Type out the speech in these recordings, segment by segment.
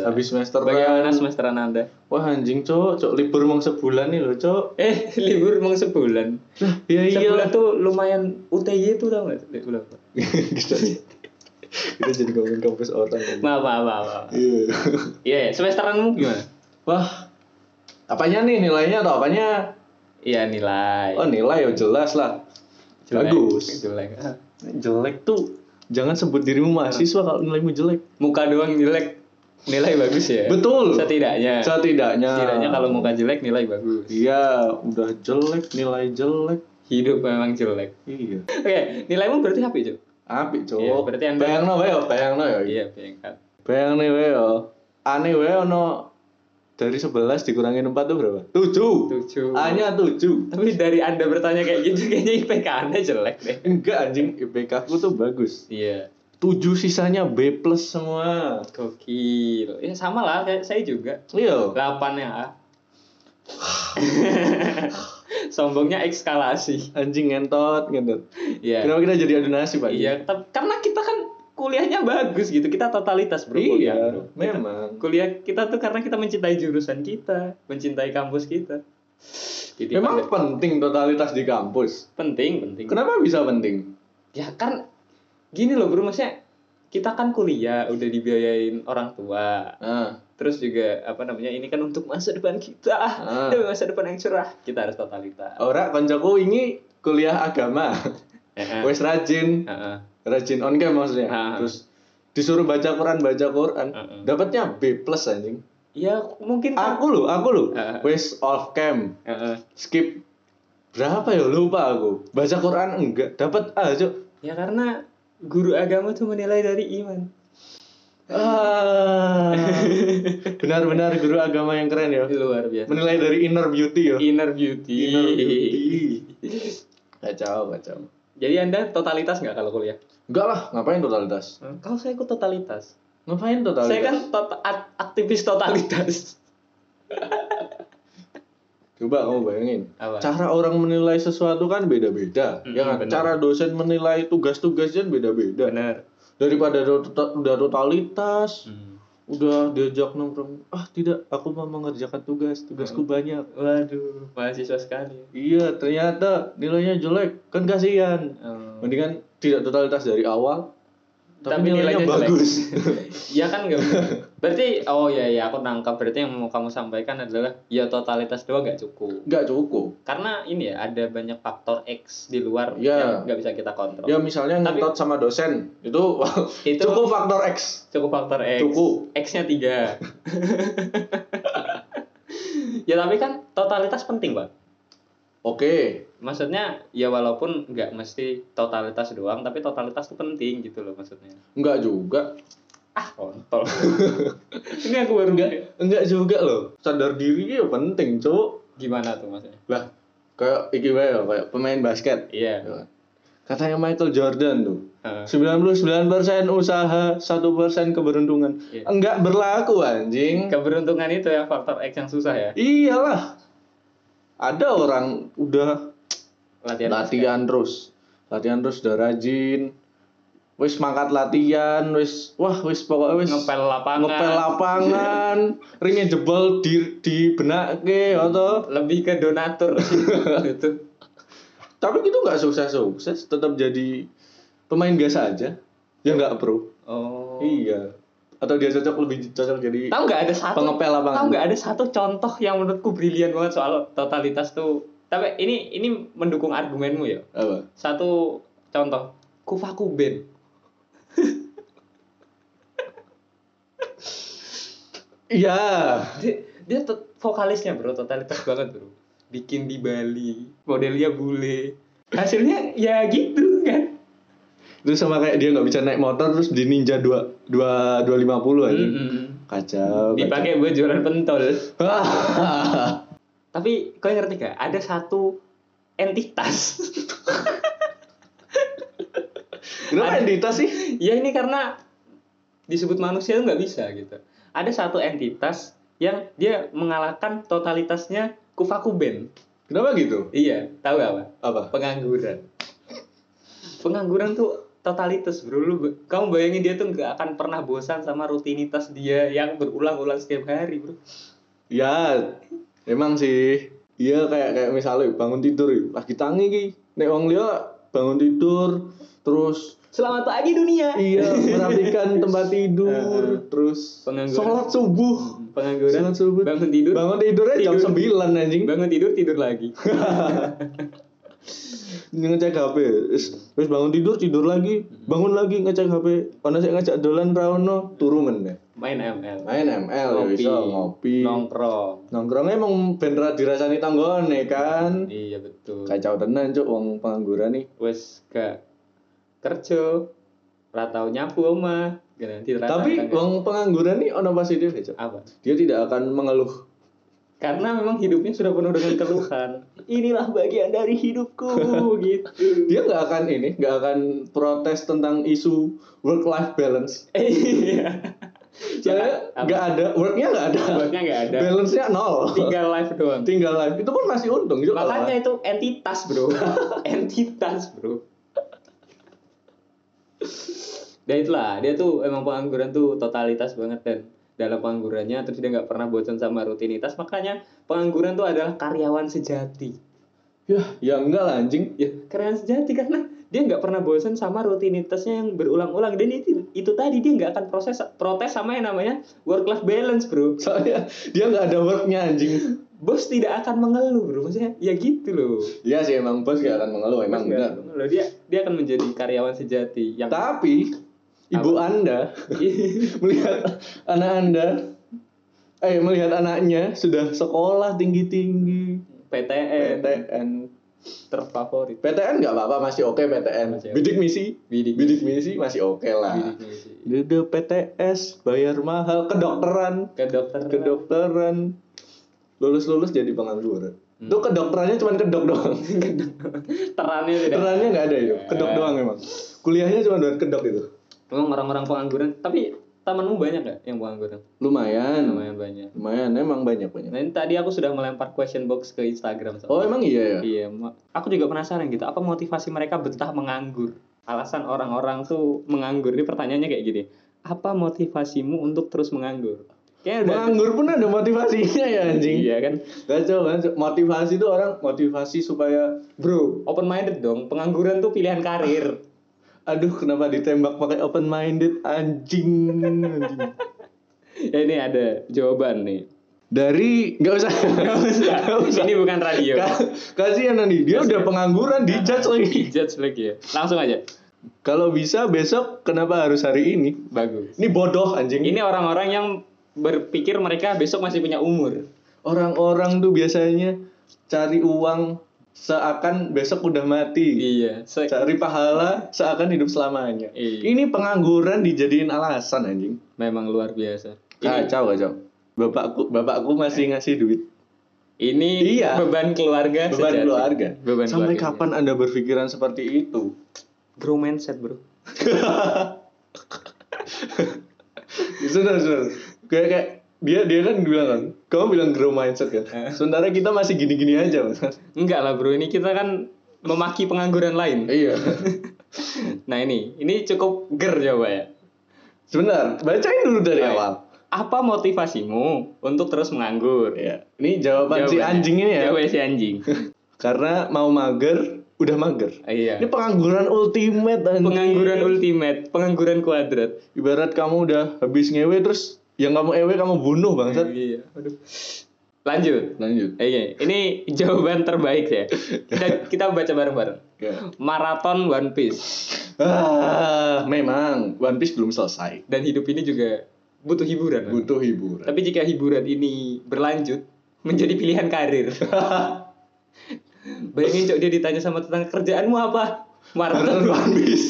habis Iya. semester Bagaimana semesteran Anda? Wah anjing cok, cok libur mong sebulan nih loh cok. Eh, libur emang sebulan. Lah, ya Sebulan iya. tuh lumayan UTY tuh tau gak? Sebulan. kita, Gitu kita jadi ngomongin kampus orang. anjing. Maaf, maaf, maaf. maaf. Iya. Iya, semesteranmu gimana? Wah. Apanya nih nilainya atau apanya? Iya, nilai. Oh, nilai ya jelas lah. Jelek, Bagus. Jelek. Ah, Jelek tuh jangan sebut dirimu mahasiswa kalau nilaimu jelek. Muka doang jelek. Nilai bagus ya? Iya. Betul. Setidaknya. Setidaknya. Setidaknya kalau muka jelek nilai bagus. Iya, udah jelek, nilai jelek. Hidup memang jelek. Iya. Oke, nilaimu berarti HP, Cuk. Apik, Cok. Iya, berarti Anda- Bayangno wae yo, bayangno yo. Iya, bengkat. Bayangno wae yo. Ane wae ono dari 11 dikurangin 4 tuh berapa? 7. Tujuh. Hanya 7. Tapi dari Anda bertanya kayak gitu kayaknya IPK Anda jelek deh. Enggak anjing, IPK ku tuh bagus. Iya. 7 sisanya B plus semua. Gokil. Ya sama lah kayak saya juga. Iya. Delapannya A. Sombongnya ekskalasi. Anjing ngentot, ngentot. Iya. Kenapa kita jadi adu nasib Pak? Iya, tep- karena kita kan kuliahnya bagus gitu. Kita totalitas, Bro. Iya, kuliah, bro. memang. Kuliah kita tuh karena kita mencintai jurusan kita, mencintai kampus kita. Jadi Memang penting totalitas di kampus. penting, penting. Kenapa bisa penting? ya kan gini loh bro maksudnya kita kan kuliah udah dibiayain orang tua Nah, terus juga apa namanya ini kan untuk masa depan kita Ah. Oh. demi masa depan yang cerah kita harus totalitas ora koncoku ini kuliah agama. Heeh. Wes rajin, Heeh. rajin on cam maksudnya. Ah. Terus disuruh baca Quran, baca Quran, Ah. dapatnya B plus anjing. ya mungkin kan- Aku loh, aku loh. Ah. Wes off cam, Heeh. skip berapa ya lupa aku. Baca Quran enggak, dapat A, Cuk. ya karena guru agama tuh menilai dari iman Ah. Benar-benar guru agama yang keren ya. luar biasa Menilai dari inner beauty ya. inner beauty, Inner beauty. Kacau, kacau. jadi anda totalitas nggak kalau kuliah Enggak lah, ngapain totalitas? kalau saya ikut totalitas Ngapain totalitas? saya kan tot- ak- aktivis totalitas Coba kamu bayangin. Iya. Apa? Cara orang menilai sesuatu kan beda-beda. Mm, ya kan? benar. Cara dosen menilai tugas-tugasnya beda-beda. benar Hmm. Daripada do- tota- udah totalitas, udah diajak nongkrong, ah tidak, aku mau mengerjakan tugas, tugasku Hmm. banyak. waduh mahasiswa sekali Iya, ternyata nilainya jelek, kan kasihan. Hmm. Mendingan tidak totalitas dari awal, tapi, nilainya, jelek. bagus. Iya kan nggak bener. Berarti oh ya ya aku nangkap berarti yang mau kamu sampaikan adalah ya totalitas doang nggak cukup. Nggak cukup. Karena ini ya ada banyak faktor X di luar Iya. yang nggak bisa kita kontrol. Ya misalnya Tapi- ngetot sama dosen, itu, Itu- cukup faktor X. Cukup faktor X. Cukup. X-nya tiga. ya tapi kan totalitas penting pak. Oke, Maksudnya ya walaupun nggak mesti totalitas doang tapi totalitas itu penting gitu loh maksudnya. nggak juga. Ah kontol. ini aku baru nggak. Enggak juga loh. Sadar diri ya penting, Cuk. Gimana tuh maksudnya? Lah, kayak iki wae ya, kayak pemain basket. Iya. Ya kan? Katanya Michael Jordan tuh. Heeh. 99% usaha, 1% keberuntungan. Iya. Enggak berlaku anjing. Keberuntungan itu ya faktor X yang susah ya. Iyalah. Ada orang udah Latihan. latihan terus. Latihan terus udah rajin. Wis mangkat latihan, wis wah wis pokoknya basket. wis ngepel lapangan. ngepel lapangan, ringnya jebol di di benak ke, atau Lebih ke donatur Gitu. sih. itu. tapi gitu nggak sukses sukses tetap jadi pemain biasa aja ya nggak pro Oh. iya atau dia cocok lebih cocok jadi Tahu nggak ada satu Pengepel lapangan. Tahu nggak ada satu contoh yang menurutku brilian banget soal totalitas tuh. Tapi ini ini mendukung argumenmu ya. apa Satu contoh Kufaku Ben. iya Dia, dia tot- vokalisnya bro totalitas banget bro. Bikin di Bali, modelnya bule. Hasilnya ya gitu kan. terus sama kayak dia nggak bisa naik motor terus di ninja dua dua dua lima puluh aja Mm-mm. kacau Ah, kacau. Dipakai buat jualan pentol. Hahaha. Tapi kau ngerti gak? Ada satu entitas. kenapa Ada- entitas sih ya ini karena disebut manusia itu nggak bisa gitu. Ada satu entitas yang dia mengalahkan totalitasnya Kufaku Ben. kenapa gitu Iya, tahu gak apa? apa Pengangguran. Pengangguran tuh totalitas bro lu ba- kamu bayangin dia tuh nggak akan pernah bosan sama rutinitas dia yang berulang-ulang setiap hari bro Ya, emang sih. Iya kayak kayak misalnya bangun tidur yuk, lagi tangi ki. Nek wong liya bangun tidur terus selamat pagi dunia iya merapikan tempat tidur terus Pengangguran. sholat subuh pengangguran Sholat subuh. bangun tidur bangun tidurnya jam Tidur. 9 anjing bangun tidur tidur lagi ngecek HP terus terus bangun tidur tidur lagi Mhm. bangun lagi ngecek HP karena saya ngajak dolan rawono turu meneh main ML main ML ya bisa ngopi nongkrong nongkrongnya emang ben ra dirasani tanggone kan iya betul kacau tenan cuk wong pengangguran nih wes gak kerja ratau nyapu oma nanti Tapi uang pengangguran nih ono positif ya, Cok. kan. apa Dia tidak akan mengeluh. karena memang hidupnya sudah penuh dengan keluhan inilah bagian dari hidupku gitu Dia nggak akan ini, nggak akan protes tentang isu work life balance. iya Soalnya Apa? nggak ada worknya nggak ada, Worknya nggak ada. balance-nya nol. tinggal live doang Tinggal life itu pun masih untung juga. makanya itu entitas bro entitas bro dan itulah dia tuh emang pengangguran tuh totalitas banget dan dalam penganggurannya terus dia nggak pernah bosan sama rutinitas makanya pengangguran tuh adalah karyawan sejati ya, ya enggak lah anjing. ya karyawan sejati karena dia nggak pernah bosan sama rutinitasnya yang berulang-ulang dan itu, itu tadi dia nggak akan proses protes sama yang namanya work life balance bro Soalnya dia nggak ada worknya anjing. bos tidak akan mengeluh bro maksudnya ya gitu loh Iya sih emang bos nggak akan mengeluh emang Enggak, benar. loh, dia dia akan menjadi karyawan sejati yang Tapi ibu anda melihat anak anda, eh melihat anaknya sudah sekolah tinggi tinggi. PTN PTN terfavorit PTN nggak apa-apa masih oke PTN Masih oke. bidik misi bidik bidik misi masih oke lah bidik misi. Dede PTS bayar mahal kedokteran ke dokter kedokteran lulus lulus jadi pengangguran itu kedokterannya cuma kedok doang terannya tidak kedokterannya nggak ada itu kedok doang memang kuliahnya cuma buat kedok itu memang orang-orang pengangguran tapi temanmu banyak gak yang pengangguran lumayan lumayan banyak lumayan emang banyak banyak nah ini tadi aku sudah melempar question box ke Instagram soalnya. oh emang iya ya Iya, ma- aku juga penasaran gitu. Apa motivasi mereka betah menganggur? Alasan orang-orang tuh menganggur. Ini pertanyaannya kayak gini. Apa motivasimu untuk terus menganggur? Kayaknya udah menganggur pun ada motivasinya ya anjing Iya kan? Kacau banget. Motivasi itu orang motivasi supaya bro, Open minded dong. Pengangguran tuh pilihan karir. aduh kenapa ditembak pakai open minded anjing. anjing. ya, ini ada jawaban nih. Dari nggak usah. Iya. Nggak usah. ini bukan radio. Ka- Kasihan nih, dia udah pengangguran dijudge lagi. Judge lagi ya. Langsung aja. Kalau bisa besok kenapa harus hari ini? Bagus. Ini bodoh anjing. Ini orang-orang yang berpikir mereka besok masih punya umur. Orang-orang tuh biasanya cari uang seakan besok udah mati. Iya. Se- Cari pahala seakan hidup selamanya. Iya. Ini pengangguran dijadiin alasan anjing. memang luar biasa. Ini, Kacau, kacau. Bapakku, bapakku Eh. masih ngasih duit. ini Iya. beban keluarga Beban Kan sejati. keluarga. Beban Sampai keluarga. kapan Anda berpikiran seperti itu? grow mindset bro Sebentar, sebentar. Ya, Kayak, kayak dia dia kan bilang kan, kamu bilang grow mindset kan. Eh. Sementara kita masih gini-gini aja, Mas. enggak lah bro ini kita kan memaki pengangguran lain iya. nah ini ini cukup ger coba ya Sebentar, bacain dulu dari Baik. awal. apa motivasimu untuk terus menganggur Iya. Ini jawaban si Jawabannya. anjing ini ya. Jawabannya si anjing Karena mau mager, udah mager. iya Ini pengangguran ultimate anjing. pengangguran ultimate pengangguran kuadrat Ibarat kamu udah habis ngewe terus yang kamu ewe kamu bunuh bangsat. iya aduh lanjut Lanjut. Oke, ini jawaban terbaik ya. Kita, kita baca bareng-bareng. Ya. Maraton One Piece Ah, memang One Piece belum selesai. dan hidup ini juga butuh hiburan. Bang. Butuh hiburan. Tapi jika hiburan ini berlanjut menjadi pilihan karir. Bayangin cok dia ditanya sama tentang kerjaanmu apa? Maraton Maraton. One Piece.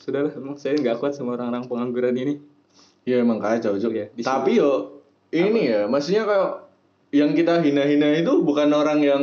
Sudahlah, emang saya nggak kuat sama orang-orang pengangguran ini. Ya emang kacau Cuk. Iya, di sini. Tapi yo ini ya, maksudnya kalau yang kita hina-hina itu bukan orang yang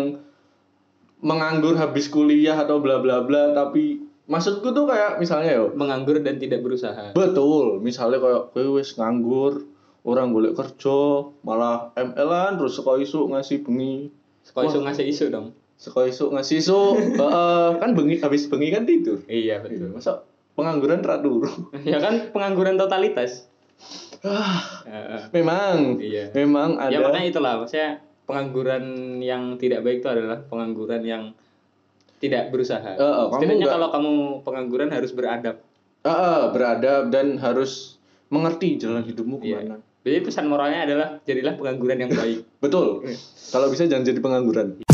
menganggur habis kuliah atau bla bla bla, tapi maksudku tuh kayak misalnya yo, Menganggur dan tidak berusaha. betul, misalnya kayak kowe wis nganggur, orang golek kerja, malah ML-an terus seko isu ngasih bengi. Sekolah isu ngasih isu dong. Suka isuk ngasih isuk, Heeh, kan bengi habis bengi kan tidur. Iya Gitu. betul. Masa pengangguran teratur. ya kan pengangguran totalitas. Ah, Eh, memang. Iya. Memang ada. Ya makanya itulah maksudnya pengangguran yang tidak baik itu adalah pengangguran yang tidak berusaha. Eh, eh, kamu Setidaknya nggak- kalau kamu pengangguran harus beradab. Ah, ah, beradab dan harus mengerti jalan hidupmu Iya. kemana. Jadi pesan moralnya adalah jadilah pengangguran yang baik. Betul. Kalau bisa jangan jadi pengangguran.